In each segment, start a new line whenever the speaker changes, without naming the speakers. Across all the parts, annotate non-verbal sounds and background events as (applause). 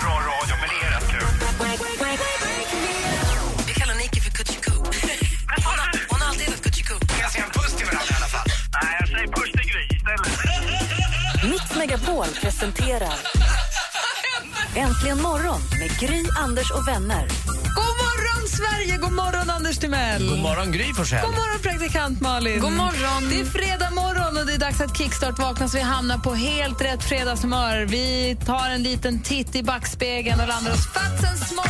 bra radio, men det är rätt kul.
Vi kallar Nicky för Kutjiku. Hon, har- hon har alltid hetat Kutjiku.
Kan jag säga en puss till varandra i alla fall? Nej, jag säger puss till Gry istället.
Mix Megapol presenterar Äntligen morgon med Gry, Anders och vänner.
God morgon, Sverige! God morgon, Anders Timell! God morgon, Gry Forssell! God morgon, praktikant Malin! God morgon! Det är fredag morgon och det är dags att kickstart vakna så vi hamnar på helt rätt fredagshumör. Vi tar en liten titt i backspegeln och landar oss fatsen små!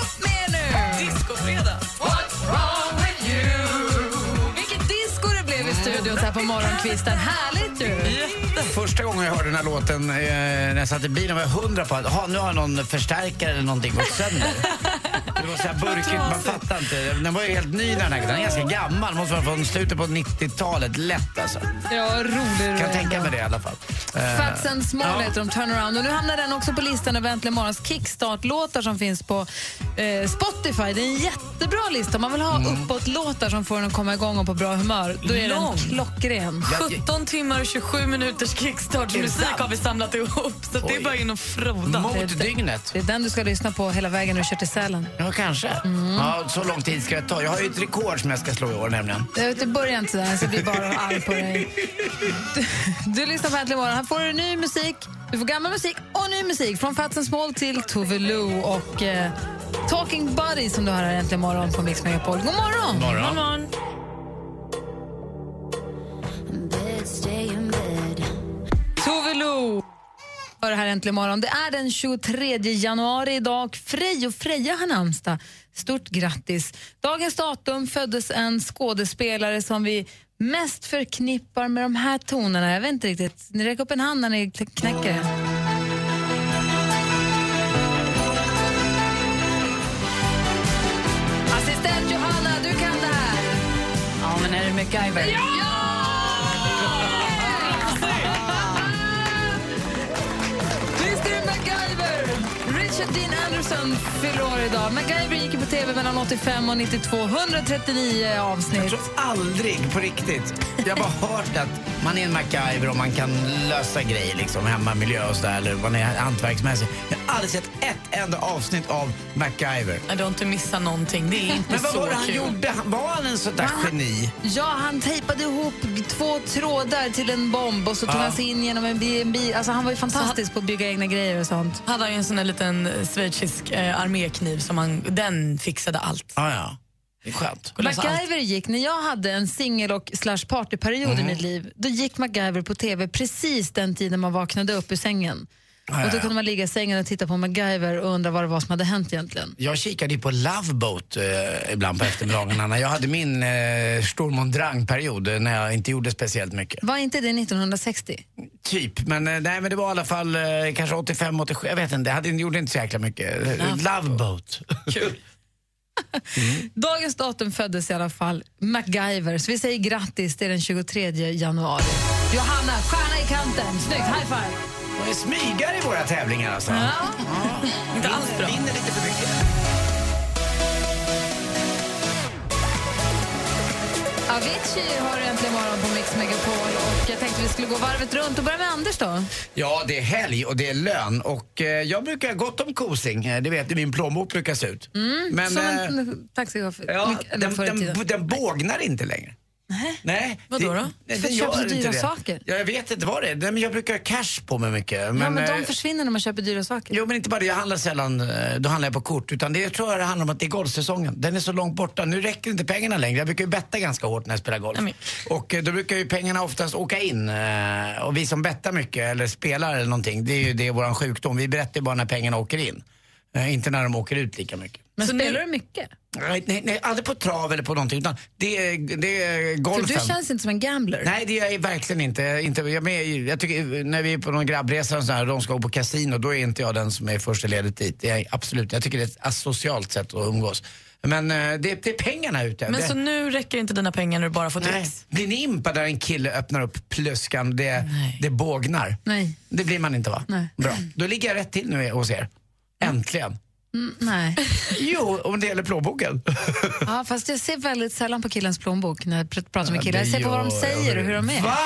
Upp med er nu! What's wrong with you? Vilket disco det blev i studion så här på morgonkvisten. Härligt ju!
Första gången jag hörde den här låten eh, när jag satt i bilen var jag hundra på att "Jaha, nu har någon förstärkare eller någonting gått sönder. Det var så här burkigt, man fattar inte. Den var ju helt ny den här, den är ganska gammal, måste vara från slutet på 90-talet, lätt alltså.
Ja, rolig
Kan jag tänka mig det i alla fall. Eh,
Fats and Small heter de, Turnaround. Och nu hamnar den också på listan över Äntligen Morgons kickstart-låtar som finns på eh, Spotify. Det är en jättebra lista. Om man vill ha uppåt-låtar som får en att komma igång och på bra humör, då är
Lång.
den klockren.
17 timmar och 27 minuters kickstartmusik har vi samlat ihop. Så det är bara in och froda.
Mot dygnet.
Det är den du ska lyssna på hela vägen när du kör till Sälen.
Ja, kanske.
Mm.
Ja, så lång tid ska jag ta. Jag har ju ett rekord som jag ska slå i år nämligen.
Jag vet, du börjar inte sådär, så jag blir bara arg på dig. Du, du lyssnar på Äntligen Morgon. Här får du ny musik. Du får gammal musik och ny musik. Från Fats and Small till Tove Lo och eh, Talking Buddies som du har här Äntligen Morgon på Mix Megapol. God morgon!
Morgon.
Tove Lo! Hör det här äntligen morgon. Det är den 23 januari idag. Frej och Freja har namnsdag. Stort grattis! Dagens datum föddes en skådespelare som vi mest förknippar med de här tonerna. Jag vet inte riktigt. Ni räcker upp en hand när ni kn- knäcker den. Assistent Johanna, du kan det här!
Ja, men är det MacGyver? Ja!
Mr MacGyver! Richard Dean Anderson fyller år idag. MacGyver gick ju på tv mellan 85 och 92. 139
Jag
avsnitt.
tror aldrig, på riktigt. Jag har bara hört att man är en MacGyver och man kan lösa grejer liksom, hemma, miljö och sådär, eller man är hantverksmässig. Jag har aldrig sett ett enda avsnitt av MacGyver.
Nej, Du har inte missat någonting. Det är inte
Men vad
så
var det han
kul.
gjorde? Han- Var han en sån där geni?
Ja, han tejpade ihop två trådar till en bomb och så tog
Ja.
han sig in genom en bil. En bil. Alltså, han var ju fantastisk på att bygga egna grejer och sånt.
Hade han ju en sån där liten eh, schweizisk eh, armékniv som han, den fixade allt.
Ja, ja. Det är skönt.
Och lösa allt.
MacGyver gick, när jag hade en singel och slash partyperiod i mitt liv, då gick MacGyver på tv precis den tiden man vaknade upp ur sängen.
Ja,
Och då
ja.
kunde man ligga i sängen och titta på MacGyver och undra vad det var som hade hänt egentligen.
Jag kikade ju på Love Boat eh, ibland på eftermiddagarna när jag hade min eh, Stormont Drang-period eh, när jag inte gjorde speciellt mycket.
Var inte det 1960?
Typ, men eh, nej men det var i alla fall eh, kanske 85, 87, jag vet inte, jag hade, gjorde inte så jäkla mycket. Love, Love Boat. (laughs)
Dagens datum föddes i alla fall MacGyver, så vi säger grattis till den 23 januari. Johanna, stjärna i kanten. Snyggt, high five!
Hon är smygare i våra tävlingar alltså.
Inte alls bra.
Vinner lite för mycket.
Avicii har du äntligen morgon på Mix Megapol och jag tänkte vi skulle gå varvet runt och börja med Anders då.
Ja, det är helg och det är lön och eh, jag brukar ha gott om kosing. Eh, Det vet ni, min plånbok brukar se ut. men
Mm, Som
eh,
en taxichaufför.
ja,
Mycket- eller
den,
förr i tiden.
den, den bågnar inte längre. Nej.
Vadå då?
det-
För
den
att köpa så
gör inte
dyra
det.
saker.
Ja, jag vet inte vad det är. Nej, men jag brukar ha cash på mig mycket. Men,
ja, men de
eh,
försvinner när man köper dyra saker.
Jo men inte bara det, jag handlar sällan, eh, då handlar jag på kort. Utan det tror jag det handlar om att det är golfsäsongen. Den är så långt borta. Nu räcker inte pengarna längre. Jag brukar ju betta ganska hårt när jag spelar golf.
Nej,
Och eh, då brukar ju pengarna oftast åka in. eh, Och vi som bettar mycket eller spelar eller någonting, det är ju det är våran sjukdom. Vi berättar ju bara när pengarna åker in. Eh, Inte när de åker ut lika mycket.
Men
Så
spelar
nu-
du mycket?
Nej, nej, nej aldrig på trav eller på någonting. Utan det är, det är
För
golfen.
du känns inte som en gambler.
Nej, det är jag verkligen inte. Jag är inte jag, men jag, jag tycker, när vi är på någon grabbresa och, så här, och de ska gå på kasino, då är inte jag den som är första ledet dit. Det är jag absolut. Jag tycker det är ett asocialt sätt att umgås. Men eh, det, det är pengarna ute.
Men
det,
så nu räcker inte dina pengar när du bara får
nej.
dricks?
Blir ni impade där en kille öppnar upp pluskan, det,
Nej.
det bågnar?
Nej.
Det blir man inte va?
Nej.
Bra. Då ligger jag rätt till nu hos er. Äntligen.
Nej.
Jo, om det gäller plånboken.
(laughs) Ja, fast jag ser väldigt sällan på killens plånbok när jag pr- pratar med killar. Jag
det
ser på vad de
gör
säger och hur de är.
Va?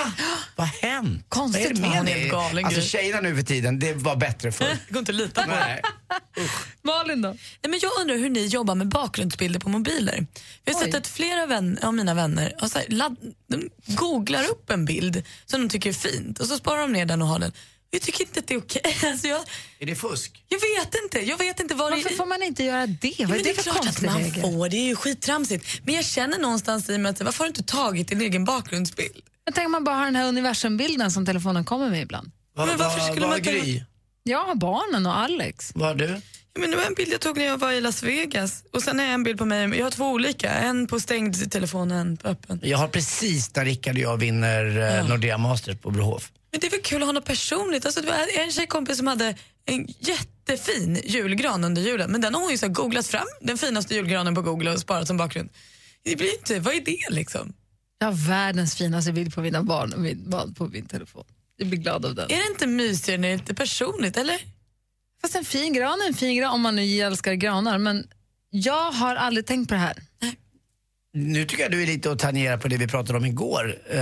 Vad har hänt?
Konstigt,
Vad är det
va?
med
Hon
är helt
dig?
galen,
Alltså
Gry.
tjejerna nu för tiden, det var bättre förr.
Det går inte att lita på.
(laughs) Nej.
Malin då?
Nej, men jag undrar hur ni jobbar med bakgrundsbilder på mobiler. Jag har
Oj.
sett att flera vän, av mina vänner har så här, ladd, de googlar upp en bild som de tycker är fint och så sparar de ner den och har den. Jag tycker inte att det är okej. (laughs) Alltså jag,
Är det fusk?
jag vet inte. Jag vet inte vad
Varför
det
får man inte göra det?
Ja,
Vad är
men
det, för
klart att
konstig
man
regel?
får, det är ju skittramsigt. Men jag känner någonstans i mig att varför har du inte tagit din egen bakgrundsbild?
Jag tänker man bara har den här universumbilden som telefonen kommer med ibland.
Va,
Men varför skulle
va,
man
va,
kunna-
Gry?
Jag har barnen och Alex.
Vad har du?
Ja, Men det var en bild jag tog när jag var i Las Vegas och sen är en bild på mig, jag har två olika, en på stängd telefon och en på öppen.
Jag har precis när Rickard och jag vinner eh, Nordea Masters på Brohof.
Men det är väl kul att ha något personligt. Alltså, det var en tjejkompis som hade en jättefin julgran under julen men den har hon ju så här googlat fram, den finaste julgranen på Google och sparat som bakgrund. Det blir inte, vad är det liksom?
Jag har världens finaste bild på mina barn och min, barn på min telefon. Jag blir glad av den.
Är det inte mysigare när det är lite personligt eller?
Fast en fin gran är en fin gran om man nu älskar granar. Men jag har aldrig tänkt på det här.
Nu tycker jag du är lite att tangera på det vi pratade om igår. eh,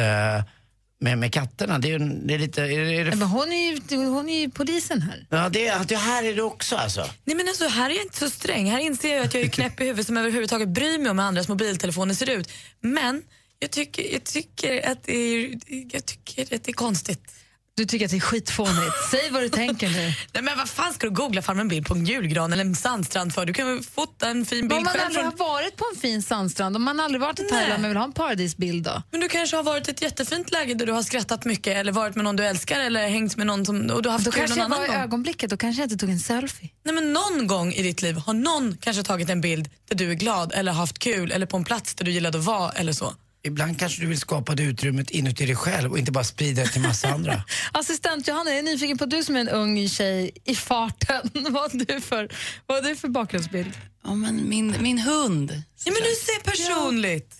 med, med katterna. Det är, ju en- det är lite... Är, det- är
Nej,
det,
Men hon, är ju, hon är ju polisen här.
ja, det, är- det här är det också alltså.
Nej men alltså, här är jag inte så sträng. Här inser jag att jag är knäpp i huvudet som överhuvudtaget bryr mig om hur andras mobiltelefoner ser ut. Men jag tycker, jag tycker, att, det är, jag tycker att det är konstigt.
Du tycker att det är skitfånigt. Säg vad du tänker nu.
Nej men vad fan ska du googla fram en bild på en julgran eller en sandstrand för? Du kan väl fota en
(laughs)
fin
Om
bild
man
själv.
aldrig har
Från...
varit på en fin sandstrand, om man aldrig varit i Thailand
Nej.
men vill ha en paradisbild då?
Men du kanske har varit i ett jättefint läge där du har skrattat mycket eller varit med någon du älskar eller hängt med någon som, och du har haft
Då
kul
kanske jag
någon
var i
annan gång.
ögonblicket, och kanske jag inte tog en selfie.
Nej men någon gång i ditt liv har någon kanske tagit en bild där du är glad eller har haft kul eller på en plats där du gillade att vara eller så.
Ibland kanske du vill skapa det utrymmet inuti dig själv och inte bara sprida det till (laughs) massa andra.
Assistent Johanna, jag är nyfiken på du som är en ung tjej i farten. (laughs) Vad har du för, vad har du för bakgrundsbild?
Ja, men min, min hund.
Ja men du ser personligt.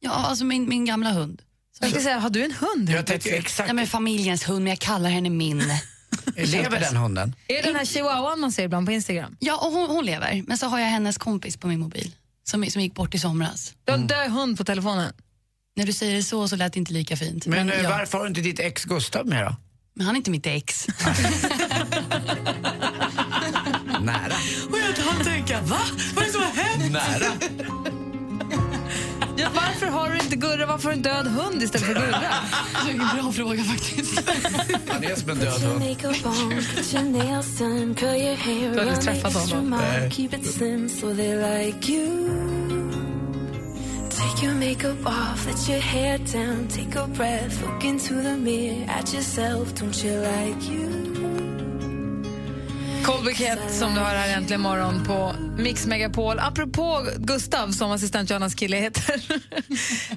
Ja, alltså min, min gamla hund.
Jag ska säga, har du en hund?
Jag tänkte ju exakt,
Ja, men familjens hund, men jag kallar henne min.
(laughs) lever den hunden?
Är det den här chihuahuan man ser ibland på Instagram?
Ja, och hon, hon lever. Men så har jag hennes kompis på min mobil som, som gick bort i somras.
Du har en död hund på telefonen.
När du säger det så så lät det inte lika fint.
Men eh,
ja.
varför har du inte ditt ex Gustav med då?
men han är inte mitt
(laughs)
ex.
Nära.
Och jag kan tänka, va? Vad är det som har hänt?
Nära.
Ja, varför har du inte Gurra? Varför har du en död hund istället för Gurra?
(laughs) Det är en bra fråga faktiskt.
Han är som en död hund.
Du har aldrig träffat honom. Kolbukett som du har här äntligen morgon på Mix Megapol. Apropå Gustav som assistent Johannas kille heter.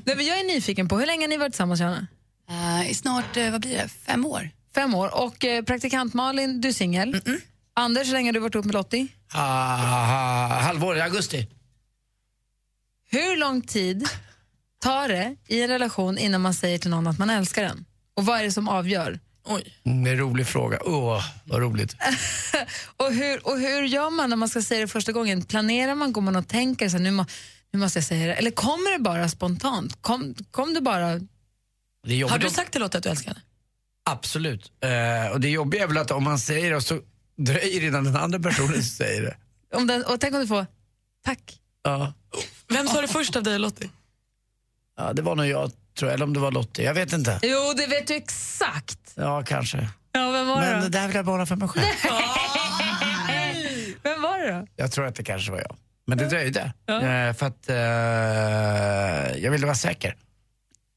Nej, men jag är nyfiken på, hur länge har ni varit tillsammans Johanna?
Eh, I snart, eh, vad blir det, fem år?
Fem år. Och eh, praktikant Malin, du är singel. Anders, hur länge har du varit ihop med Lottie?
Ah, halvår i augusti.
Hur lång tid tar det i en relation innan man säger till någon att man älskar den? Och vad är det som avgör?
Oj.
Mm, det är en rolig fråga. Åh, vad roligt.
Och hur, och hur gör man när man ska säga det första gången? Planerar man, går man och tänker så här, nu, må, nu måste jag säga det? Eller kommer det bara spontant? Kom, kom du bara...
Det är jobbigt
Har du
om-
sagt till Lotta att du älskar henne?
Absolut. Eh, och det jobbiga är väl att om man säger det så dröjer det innan den andra personen (laughs) säger det.
Om den, och tänk om du får tack.
Ja.
Vem sa det först av dig och Lottie?
ja, det var nog jag tror jag, eller om det var Lottie. Jag vet inte.
Jo, det vet du exakt.
Ja, kanske.
Ja, vem var
Men
det
det
då?
där vill jag bara för mig själv.
Vem var det då?
Jag tror att det kanske var jag. Men det dröjde. Eh, för att eh, jag ville vara säker.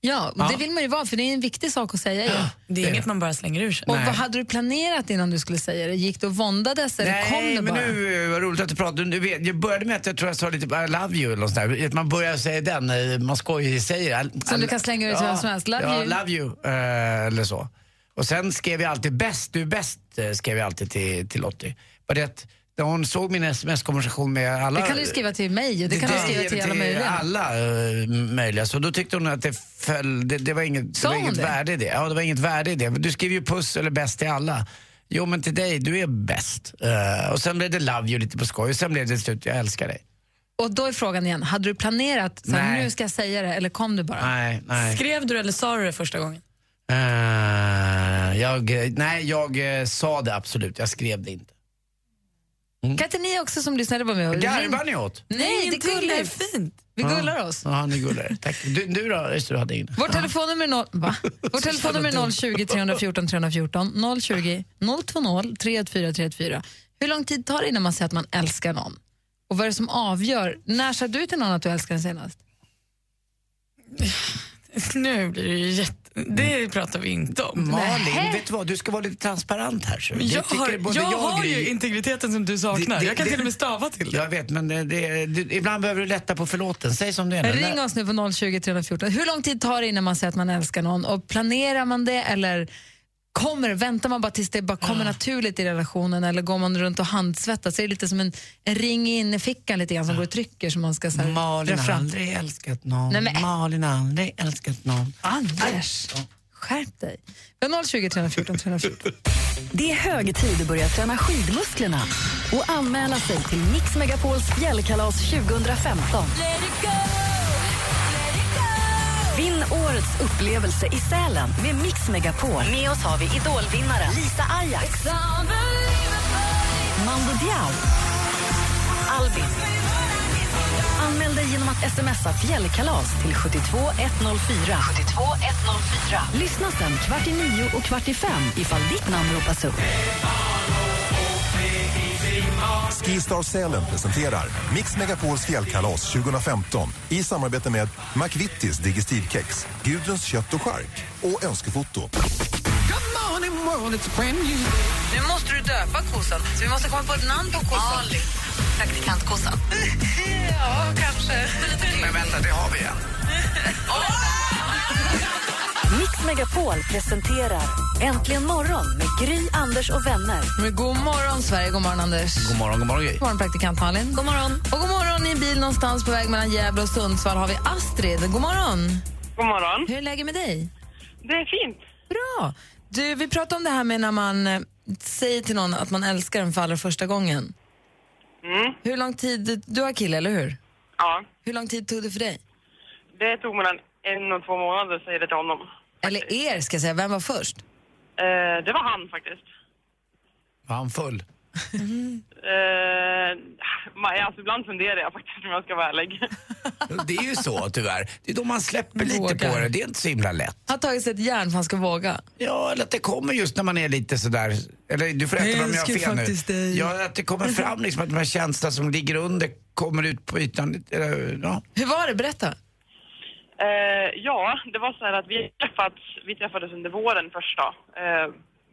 Ja, och det vill man ju vara för det är en viktig sak att (gasps) säga ju.
Det är inget man bara slänger ur sig.
Och vad hade du planerat innan du skulle säga det? Gick du och våndades eller kom Alltså, det
men
bara?
nu eh, vad roligt att du pratar. Du vet, jag började med att jag tror jag sa lite I love you eller något sånt där. Att Man börjar säga den, eh, man skojar säger I-
Som
I-
du kan slänga ut till vem som helst. Love
ja,
you.
love you eh, eller så. Och sen skrev jag alltid bäst, du är bäst eh, skrev jag alltid till, till Lottie. Bara det att där hon såg min sms-konversation med alla.
Det kan du skriva till mig och det, kan du skriva till alla möjliga.
alla, eh, möjliga. Så då tyckte hon att det föll, det, det var inget, det
Sa
var
hon
inget
det?
värde i det. Ja, det var inget värde i det. Men Du skriver ju puss eller bäst till alla. Jo men till dig, du är bäst. Eh, och sen blev det love you lite på skoj och sen blev det till slut jag älskar dig.
Och då är frågan igen, hade du planerat så här,
Nej.
nu ska jag säga det eller kom du bara?
Nej, nej.
Skrev du eller sa du det första gången?
Eh, jag, nej, jag eh, sa det absolut. Jag skrev det inte.
Kan inte ni också som lyssnade vara med och
Garvar ni åt?
Nej, det är
Ingenting, Det är
gulligt.
(laughs)
fint.
Vi gullar oss.
Ja, ni gullar. Tack. Du, du då? Just det, du hade ingen.
Vårt telefonnummer är, noll, va? Vårt telefonnummer är 020 314 314 020 020 314 314. Hur lång tid tar det innan man säger att man älskar någon? Och vad är det som avgör? När sa du till någon att du älskar den senast?
Nu blir det ju jätte... Det pratar vi inte om.
Malin, vet du vad? Du ska vara lite transparent här. Så.
Jag har,
tycker
jag,
både och
har
Gry-
ju integriteten som du
Det-
saknar.
det-
Jag kan
det-
till och med stava till det.
Jag vet, men det, det, du, ibland behöver du lätta på förlåten. Säg som det är. nu.
Ring oss nu på 020 314. Hur lång tid tar det innan man säger att man älskar någon? Och planerar man det eller kommer, väntar man bara tills det bara kommer naturligt i relationen eller går man runt och handsvettas? Så är det lite som en, en ring i innerfickan lite grann som går och trycker som man ska så här, dra
Malin har
fram.
aldrig älskat någon.
Nej, men-
Malin har aldrig älskat någon.
Ah.
Anders, skärp dig. Vi har 020 314 314.
Det är hög tid att börja träna skidmusklerna och anmäla sig till Mix Megapols fjällkalas 2015. Vinn årets upplevelse i Sälen med Mix Megapol. Med oss har vi idolvinnaren Lisa Ajax, Mando Diao, Albin. Anmäl dig genom att smsa fjällkalas till 72104. 72104. Lyssna sen kvart i nio och kvart i fem ifall ditt namn ropas upp.
Skistar Sälen presenterar Mix Megapols fjällkalas 2015 i samarbete med McVittys Digestivkex, Gudruns kött och chark och Önskefoto.
Nu måste du döpa kossan, så vi måste komma på ett namn på kossan. Ali. Praktikantkossan. (laughs) ja, kanske.
Men vänta, det har vi
(laughs)
igen.
Mix Megapol presenterar Äntligen morgon med Gry, Anders och vänner.
Men god morgon, Sverige. God morgon, Anders.
God morgon, god morgon Gry.
God morgon, praktikant Malin. God morgon. Och god morgon, i en bil någonstans på väg mellan Gävle och Sundsvall har vi Astrid. God morgon.
God morgon.
Hur är läget med dig?
Det är fint.
Bra. Du, vi pratade om det här med när man eh, säger till någon att man älskar den för allra första gången.
Mm.
Hur lång tid... Du har kille, eller hur?
Ja,
Hur lång tid tog det för dig?
det tog mellan en och två månader säger det till honom.
Eller er, ska jag säga. Vem var först?
Eh, det var han faktiskt.
Var han full?
Eh, man- alltså, ibland funderar jag faktiskt om jag ska vara ärlig.
Det är ju så tyvärr. Det är då man släpper lite
Vågar.
på det. Det är inte så himla lätt.
Han har tagit sig ett järn för att han ska våga.
Ja, eller att det kommer just när man är lite sådär, eller du får rätta mig om jag har
älskar
fel
faktiskt
nu.
dig.
Ja, att det kommer fram liksom att de här känslorna som ligger under kommer ut på ytan. Eller, ja.
Hur var det? Berätta.
Eh, ja, det var så här att vi, träffats, vi träffades under våren först då. Eh,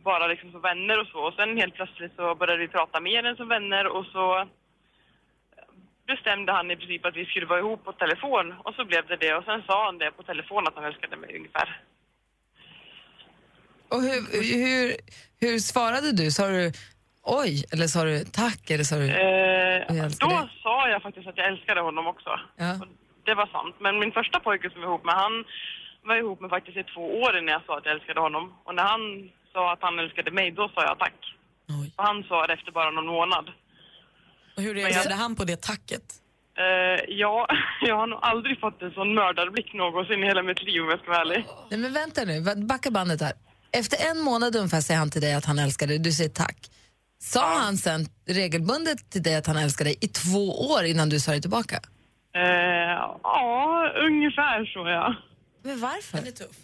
bara liksom som vänner och så. Och sen helt plötsligt så började vi prata mer än som vänner och så bestämde han i princip att vi skulle vara ihop på telefon. Och så blev det det. Och sen sa han det på telefon att han älskade mig ungefär.
Och hur, hur, hur svarade du? Sa du oj, eller sa du tack, eller sa du...
Eh,
Jag älskar
då
dig.
sa jag faktiskt att jag älskade honom också.
Ja.
Och Det var sant. Men min första pojke som jag var ihop med, han var ihop med faktiskt i två år innan jag sa att jag älskade honom. Och när han sa att han älskade mig, då sa jag tack.
Oj.
Och han sa det efter bara någon månad.
Och hur reagerade han på det tacket?
Eh, ja, (laughs) jag har nog aldrig fått en sån mördarblick någonsin i hela mitt liv om jag ska vara ärlig.
Nej, men vänta nu, va- backa bandet här. Efter en månad ungefär säger han till dig att han älskar dig, du säger tack. Sa han sen regelbundet till dig att han älskar dig i två år innan du sa det tillbaka?
Eh, ja, ungefär så ja.
Men varför?
tuff.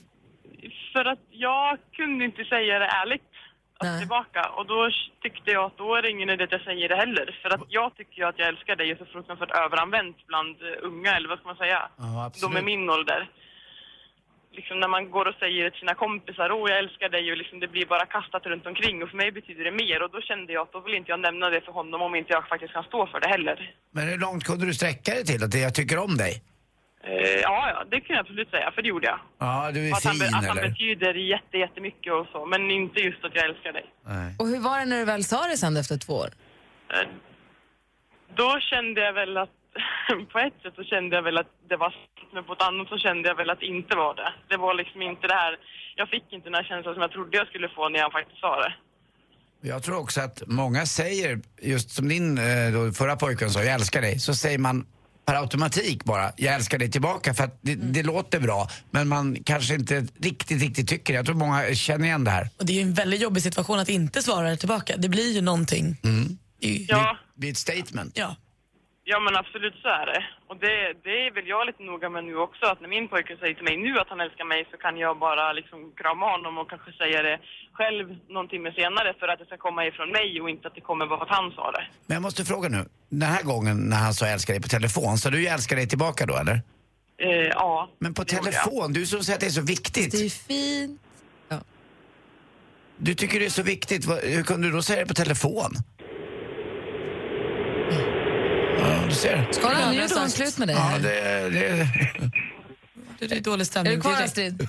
För att jag kunde inte säga det ärligt alltså,
Nej.
tillbaka. Och då tyckte jag att då är det ingen idé att jag säger det heller. För att jag tycker ju att jag älskar dig och så fruktansvärt överanvänt bland eh, unga, eller vad ska man säga?
Ja, absolut.
De är min ålder. Liksom när man går och säger det till sina kompisar, åh jag älskar dig och liksom det blir bara kastat runt omkring och för mig betyder det mer och då kände jag att då vill inte jag nämna det för honom om inte jag faktiskt kan stå för det heller.
Men hur långt kunde du sträcka dig till att jag tycker om dig?
Eh, ja, ja, det kan jag absolut säga, för det gjorde jag.
Ja, du är
Att han,
fin
be- att han
eller?
betyder jätte, jättemycket och så, men inte just att jag älskar dig.
Nej.
Och hur var det när du väl sa det sen efter två år?
Eh,
Äh, Då kände jag väl att, (laughs) på ett sätt så kände jag väl att det var sant, men på ett annat så kände jag väl att det inte var det. Det var liksom inte det här, jag fick inte den här känslan som jag trodde jag skulle få när han faktiskt sa det.
Jag tror också att många säger, just som din eh, då, förra pojkvän sa, jag älskar dig, så säger man per automatik bara, jag älskar dig tillbaka för att det, det låter bra men man kanske inte riktigt, riktigt tycker det. Jag tror många känner igen det här.
Och det är ju en väldigt jobbig situation att inte svara tillbaka. Det blir ju någonting.
Ja.
Det är ett statement.
Ja.
Ja men absolut så är det. Och det, det är väl jag lite noga med nu också att när min pojke säger till mig nu att han älskar mig så kan jag bara liksom krama honom och kanske säga det själv någon timme senare för att det ska komma ifrån mig och inte att det kommer bara för att han sa det.
Men jag måste fråga nu, den här gången när han sa jag älskar dig på telefon, sa du jag älskar dig tillbaka då eller?
Eh, ja.
Men på
det gjorde jag.
telefon, du som säger att det är så viktigt.
Det är fint.
Du tycker det är så viktigt, vad- hur kunde du då säga det på telefon? Ja, du ser.
Kolla, nu
Andra
gjorde hon
sagt.
slut med dig.
Ja,
här.
det, det...
Det är dålig
Är
stämning.
du kvar,
direkt.
Astrid?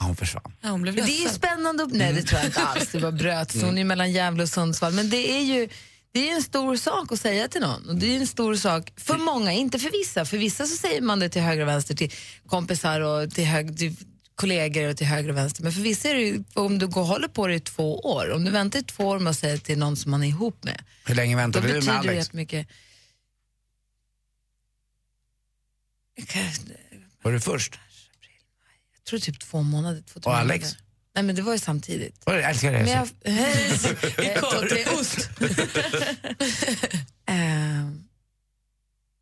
Ja, hon försvann.
Ja, hon blev
Men det är ju
ledsen.
spännande. att- Nej, det tror jag inte
Mm.
alls. Det var bröt. Så Hon är ju mellan Gävle och Sundsvall. Men det är ju det är ju en stor sak att säga till någon. Och det är ju en stor sak för många, inte för vissa. För vissa så säger man det till höger och vänster, till kompisar och till, hög, till kollegor och till höger och vänster. Men för vissa är det ju, om du går och håller på det i två år, om du väntar i två år med att säga till någon som man är ihop med,
Hur länge
då
väntade du med
betyder det
Alex?
jättemycket. Jag kan-
Var du först?
Jag tror typ två månader. Två, tre
Och
månader.
Alex?
Nej, men det var ju samtidigt.
Var det, älskar dig.
Men jag,
älskar
Alltså. (laughs)
I kör. Ost. (laughs) Ehm,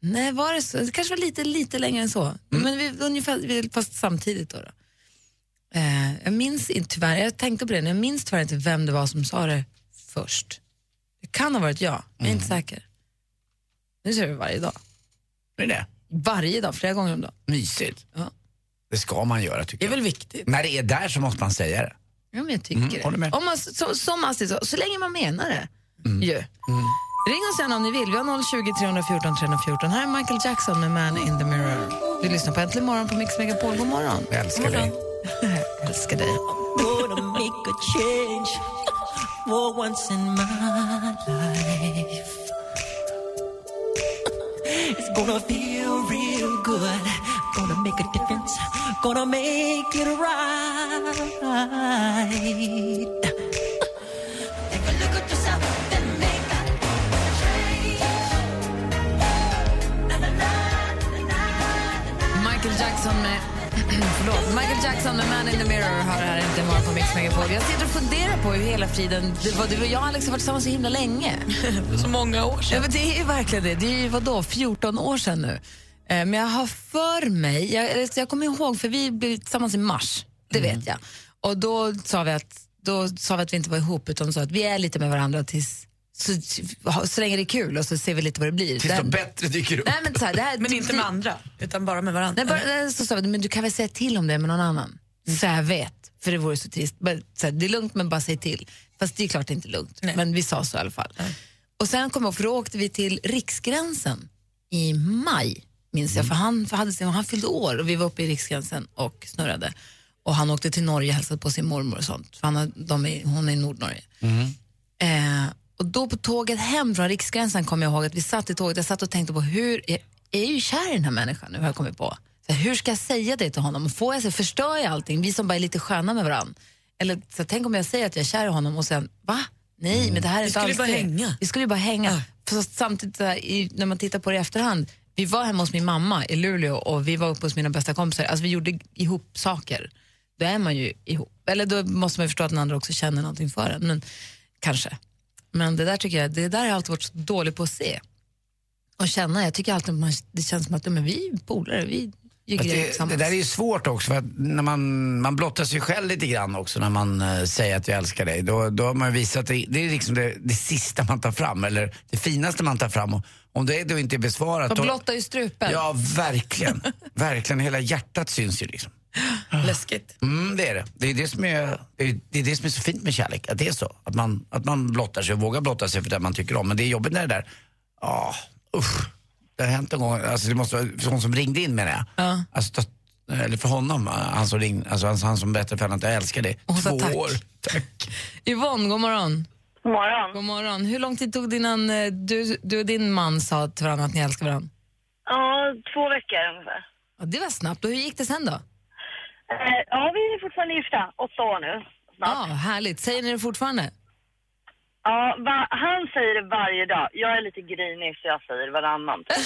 nej, var det så? Det kanske var lite, lite längre än så.
Mm.
Men vi, ungefär, vi, fast samtidigt då. då. Eh, jag minns inte, tyvärr, jag tänkte på det, men jag minns tyvärr inte vem det var som sa det först. Det kan ha varit jag, men jag är inte
Mm.
säker. Nu ser vi varje dag.
dig. Det är det.
Varje dag, flera gånger om dagen.
Mysigt.
Ja.
Det ska man göra
Det
tycker
är
jag.
väl viktigt.
När det är där så måste man säga det.
Ja, men jag tycker
Mm, håller
det.
med. Mm.
Om man, så, som Astrid sa, så länge man menar det. Ju. Ring oss gärna om ni vill. Vi har 020 314 314. Här är Michael Jackson med Man in the Mirror. Du lyssnar på Äntligen morgon på Mix Megapol. God morgon.
Jag älskar dig.
Jag älskar dig. Michael Jackson med... (clears throat) Förlåt. Michael Jackson med Man in the Mirror har det här Äntligen morgon på Mix Megapol. Jag sitter och funderar på hur hela friden... Det var, du och jag Alex har varit tillsammans så himla länge.
Så många år
Ja,
sedan.
men det är ju verkligen det. Det är ju vadå, 14 år sedan nu. Eh, Men jag har för mig, jag, eller, så jag kommer ihåg, för vi blev tillsammans i mars, det
Mm.
vet jag. Och då sa, vi att, då sa vi att vi inte var ihop, utan sa att vi är lite med varandra tills, så, så länge det är kul och så ser vi lite vad det blir.
Tills
Det-
något bättre dyker upp.
nej, men så här, det här,
(laughs) Men inte med andra, utan Typ bara med varandra.
Nej, bara, nej, så sa vi, men du kan väl säga till om det med någon annan? Så jag vet, för det vore så trist. Bara, så här, det är lugnt, men bara säg till. Fast det är klart det är inte lugnt,
Nej.
men vi sa så i alla fall. Och sen kom jag ihåg, för då åkte vi till Riksgränsen i maj, minns jag. För han, för hade, sin- han fyllde år och vi var uppe i Riksgränsen och snurrade. Och han åkte till Norge och hälsade på sin mormor och sånt. För han har, de är, hon är i Nordnorge. Eh, och då på tåget hem från Riksgränsen kom jag ihåg att vi satt i tåget. Jag satt och tänkte på hur, jag är ju kär i den här människan nu har jag kommit på. Så här, hur ska jag säga det till honom? Får jag, så- förstör jag allting? Vi som bara är lite sköna med varandra. Eller så här, tänk om jag säger att jag är kär i honom och sen, va? Nej, men det här är inte
Mm. skulle
alls
bara
det.
hänga.
Vi skulle ju bara hänga. Fast samtidigt så här, i, när man tittar på det i efterhand, vi var hemma hos min mamma i Luleå och vi var uppe hos mina bästa kompisar. Alltså vi gjorde ihop saker. Då är man ju ihop. Eller då måste man ju förstå att den andra också känner någonting för en. Men, kanske. Men det där tycker jag, det där har jag alltid varit så dålig på att se och känna. Jag tycker alltid att man, det känns som att ja, men vi är polare, vi gör
Fast
grejer
Det, det
tillsammans.
där är ju svårt också för att när man, man blottar sig själv lite grann också när man eh, säger att jag älskar dig. Då, då har man ju visat, det, det är liksom det, det sista man tar fram eller det finaste man tar fram. Och om det då inte är besvarat.
De
då-
blottar ju strupen.
Ja, verkligen. verkligen, hela hjärtat syns ju liksom.
Ah.
Läskigt.
Mm, det är det. Det är det, som är, det är det som är så fint med kärlek, att det är så. Att man, att man blottar sig och vågar blotta sig för det man tycker om. Men det är jobbigt när det där, ja, usch. Det har hänt en gång, alltså det måste vara, för hon som ringde in menar jag. Alltså, ta, eller för honom, han som, ringde, alltså, han, han som berättade för henne att jag älskar dig.
Och hon sa
Två
tack.
år. Tack.
Yvonne, god morgon.
God morgon.
God morgon. Hur lång tid tog det innan eh, du, du och din man sa till varandra att ni älskar varandra?
Ja, två veckor ungefär.
Ja, det var snabbt. Och hur gick det sen då?
Eh, ja, vi är fortfarande gifta. Åtta år nu.
Ja, härligt. Säger ni det fortfarande?
Ja, va- han säger det varje dag. Jag är lite grinig så jag säger (laughs) varannan. typ.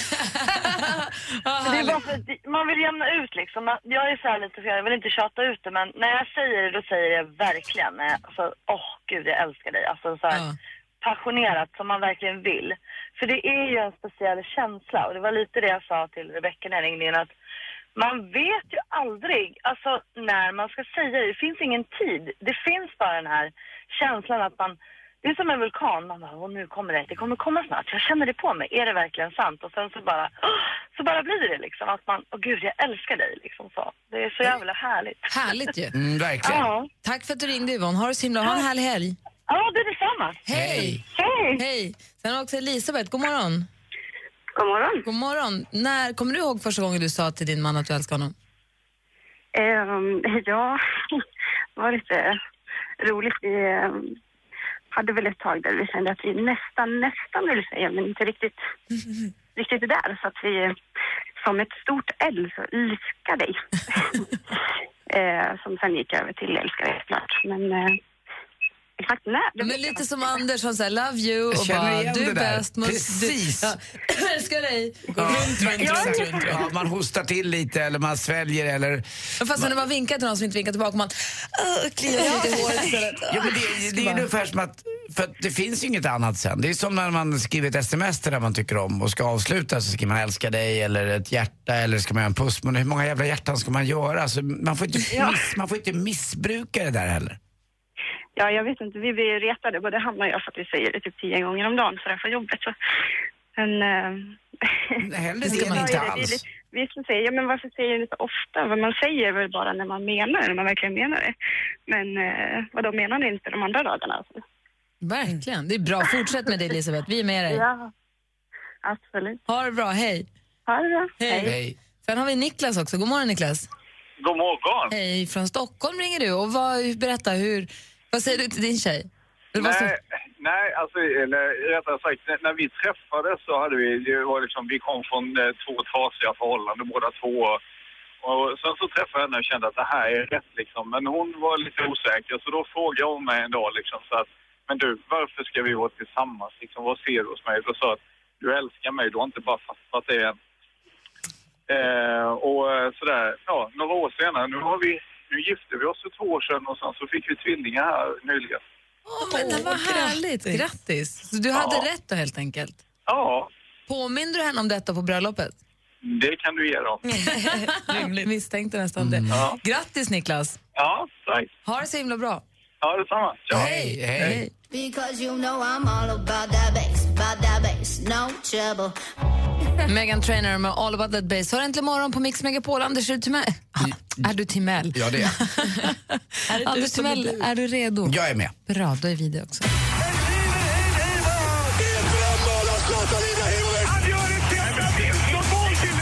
För det är bara för, att det- man vill jämna ut liksom. Man- Jag är så här lite, för jag vill inte tjata ut det men när jag säger det då säger jag verkligen. eh, Alltså, åh gud jag älskar dig. Alltså så här passionerat som man verkligen vill. För det är ju en speciell känsla och det var lite det jag sa till Rebecca när jag ringde in att man vet ju aldrig alltså, när man ska säga det. Det finns ingen tid. Det finns bara den här känslan att man... Det är som en vulkan. Man bara, Åh, nu kommer det. Det kommer komma snart. Jag känner det på mig. Är det verkligen sant? Och sen så bara... (gasps) "Åh!" Så bara blir det liksom att man... Åh gud, jag älskar dig liksom så. Det är så jävla härligt.
Härligt ju.
Mm, verkligen.
Ja.
Tack för att du ringde Yvonne. Ha det så himla Ha en härlig helg.
Ja, det är detsamma.
Hej!
Hej!
Hej! Sen har vi också Elisabeth. God morgon.
God morgon.
God morgon. När, kommer du ihåg första gången du sa till din man att du älskar honom?
Ehm, (laughs) ja, det var lite roligt. Vi ehm, hade väl ett tag där vi kände att vi nästan, nästan ville säga, men inte
(laughs)
riktigt, riktigt där. Så att vi som ett stort L så älskar
(laughs)
dig. Ehm, som sen gick över till älskar dig såklart. Men eh, exakt när. det
Men
vet jag
lite som Anders som säger love you
Jag
och
känner
bara
igen
du
det
är
där.
bäst. måste-
Precis.
Du, ja, (laughs) älskar dig. Gå
Ja,
runt, runt,
exakt.
runt, runt, runt.
Ja, man hostar till lite eller man sväljer eller...
Fast när man vinkar till någon som inte vinkar tillbaka, man "Åh, kliar sig lite i håret istället.
Ja, men det, det är ungefär som att, för att det finns ju inget annat sen. Det är som när man skriver ett sms till den man tycker om och ska avsluta så skriver man älskar dig eller ett hjärta eller ska man göra en puss. Men hur många jävla hjärtan ska man göra? Alltså, man, får inte miss, man får inte missbruka det där heller.
Ja, jag vet inte. Vi blir ju retade, både han och jag, för att vi säger det typ tio gånger om dagen sådär på jobbet. Så. Men... eh,
Äh, hellre
det
än inte alls.
Vi, vi skulle säga, ja, men varför säger ni så ofta? Vad man säger är väl bara när man menar det, när man verkligen menar det. Men eh, vad då menar ni inte de andra dagarna? Alltså?
Verkligen. Det är bra. Fortsätt med det, Elisabeth. Vi är med dig.
Ja, absolut.
Ha det bra. Hej.
Ha det bra.
Hej. Sen har vi Niklas också. God morgon, Niklas.
God morgon.
Hej. Från Stockholm ringer du. Och vad, berätta, hur, vad säger du till din tjej? Eller vad
Nej,
står-
nej, alltså eller, rättare sagt, när, när vi träffades så hade vi, det var liksom, vi kom från eh, två trasiga förhållanden båda två. Och sen så träffade jag henne och kände att det här är rätt liksom. Men hon var lite osäker så då frågade hon mig en dag liksom så att, men du varför ska vi vara tillsammans liksom? Vad ser du hos mig? Då sa jag att du älskar mig, du har inte bara fattat det än. Eh, och eh, sådär, ja, några år senare, nu har vi, nu gifte vi oss för två år sedan och sen så fick vi tvillingar här nyligen.
Åh, men det var härligt. Grattis. Så du hade rätt då, helt enkelt.
Ja,
Påminner du henne om detta på bröllopet?
det kan du ge dem.
Misstänkte nästan det.
Ja.
Grattis, Niklas.
Ja, tack.
Ha det så himla bra.
Ja, detsamma. Ja.
Hej, hej.
Because you know I'm all about that bass, about that bass, no trouble.
Megan Trainor med All about that bass. Hör äntligen morgon på Mix Megapol. Anders, är du Timell? Är du Timell?
Ja, det är
(laughs) är Anders
som är
Timell,
du?
är du redo?
Jag är med.
Bra, då är vi det också.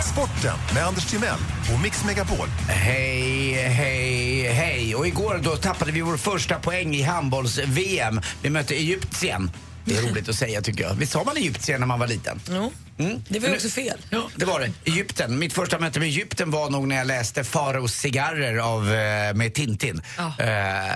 Sporten med Anders Timell och Mix Megapol.
Hej, hej, hej. Och igår då tappade vi vår första poäng i handbolls-VM. Vi mötte Egyptien. Det är roligt att säga tycker jag. Visst sa man Egyptien när man var liten?
Jo.
Mm.
Det var ju också fel.
Ja, det var det. Egypten. Mitt första möte med Egypten var nog när jag läste Faraos cigarrer av, eh, med Tintin. Eh,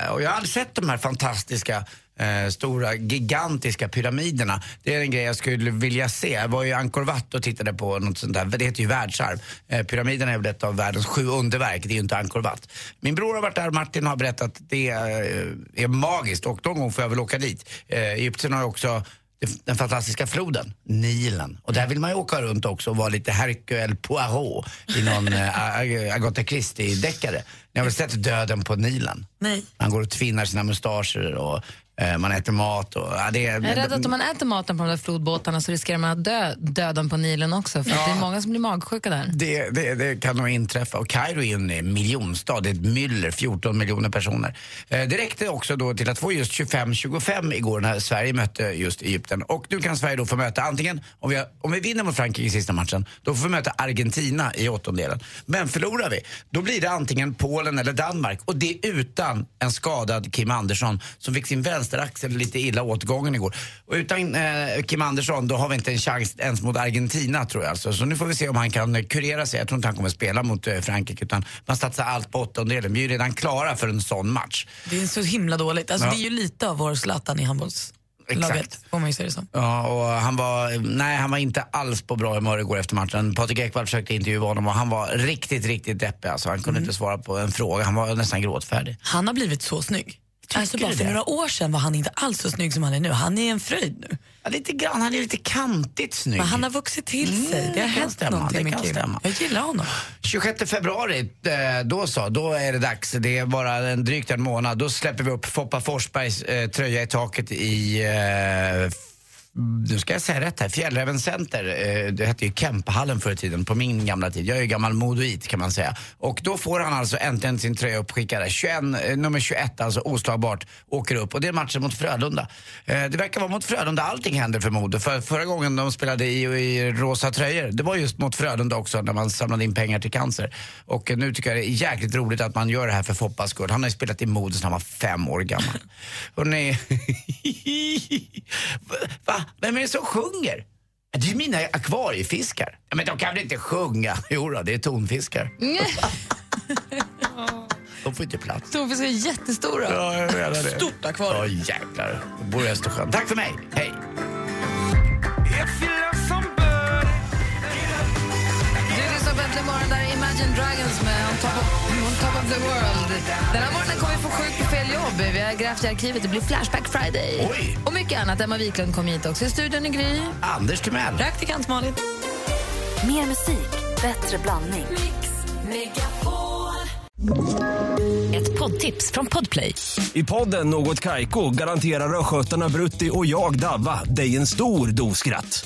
och jag har aldrig sett de här fantastiska eh, stora, gigantiska pyramiderna. Det är en grej jag skulle vilja se. Jag var i Angkor Wat och tittade på något sånt där. Det heter ju världsarv. Eh, pyramiderna är väl ett av världens sju underverk. Det är ju inte Angkor Wat. Min bror har varit där, Martin har berättat att det eh, är magiskt och någon gång får jag väl åka dit. Eh, Egypten har ju också den fantastiska floden, Nilen. Och där vill man ju åka runt också och vara lite Hercule Poirot i
(laughs)
någon eh, Ag- Agatha Christie-deckare. Ni har väl sett Döden på Nilen?
Nej.
Man går och tvinnar sina mustascher och eh, man äter mat och... Ja, det är,
Jag är rädd att om man äter maten på de där flodbåtarna så riskerar man att dö döden på Nilen också. För att det är många som blir magsjuka där.
det, det, det kan nog inträffa. Och Kairo är ju en eh, miljonstad, det är ett myller, 14 miljoner personer. Eh, det räckte också då till att få just 25-25 igår när Sverige mötte just Egypten. Och nu kan Sverige då få möta antingen, om vi, har- om vi vinner mot Frankrike i sista matchen, då får vi möta Argentina i åttondelen. Men förlorar vi, då blir det antingen Polen eller Danmark. Och det utan en skadad Kim Andersson som fick sin vänster vänsteraxel lite illa åt gången igår. Och utan eh, Kim Andersson, då har vi inte en chans ens mot Argentina tror jag. Alltså. Så nu får vi se om han kan eh, kurera sig. Jag tror inte han kommer spela mot eh, Frankrike utan man satsar allt på åttondelen. Vi är ju redan klara för en sån match.
Det är så himla dåligt. Alltså,
Ja.
Det är ju lite av vår Zlatan i handbollslaget, får man ju se det som.
Ja, och han var, nej, han var inte alls på bra humör igår efter matchen. Patrik Ekwall försökte intervjua honom och han var riktigt, riktigt deppig. Alltså, han kunde inte svara på en fråga. Han var nästan gråtfärdig.
Han har blivit så snygg. alltså
du
bara för
det?
några år sedan var han inte alls så snygg som han är nu. Han är en fröjd nu.
Ja, lite grann. Han är lite kantigt snygg.
Men han har vuxit till sig.
Mm,
det har
det kan
hänt
stämma,
någonting
det
med
kan
Kim.
stämma.
Jag gillar honom.
26 februari, eh, då så, då är det dags. Det är bara en, drygt en månad. Då släpper vi upp Foppa Forsbergs eh, tröja i taket i eh, nu ska jag säga rätt här, Fjällräven Center, eh, det hette ju Kempehallen förr i tiden, på min gamla tid. Jag är ju gammal modoit kan man säga. Och då får han alltså äntligen sin tröja uppskickad. 21, eh, nummer 21, alltså oslagbart, åker upp. Och det är matchen mot Frölunda. Eh, det verkar vara mot Frölunda allting händer för Modo. För förra gången de spelade i, i rosa tröjor, det var just mot Frölunda också när man samlade in pengar till cancer. Och eh, nu tycker jag det är jäkligt roligt att man gör det här för Foppas skull. Han har ju spelat i Modo sedan han var fem år gammal. Hörrni, Va? Vem är det som sjunger? Det är ju mina akvariefiskar. Ja, Men de kan väl inte sjunga? (laughs) Jo då, det är tonfiskar. De får inte plats.
Tonfiskar är jättestora.
Ja, jag menar det.
Stort akvarium.
Ja, jäklar. De bor i Östersjön. Tack för mig. Hej.
Du lyssnar på Äntligen morgon, där är Imagine Dragons med on top, of, on top of the World. Den här morgonen kommer vi få sjukt på fel jobb. Vi har grävt i arkivet, det blir Flashback Friday.
Oj.
Och mycket annat. Emma Wiklund kom hit också. I studion i Gry.
Anders Timell.
Praktikant Malin.
Mer musik, bättre blandning.
Ett poddtips från Podplay.
I podden Något Kaiko garanterar östgötarna Brutti och jag, Davva, dig en stor dos skratt.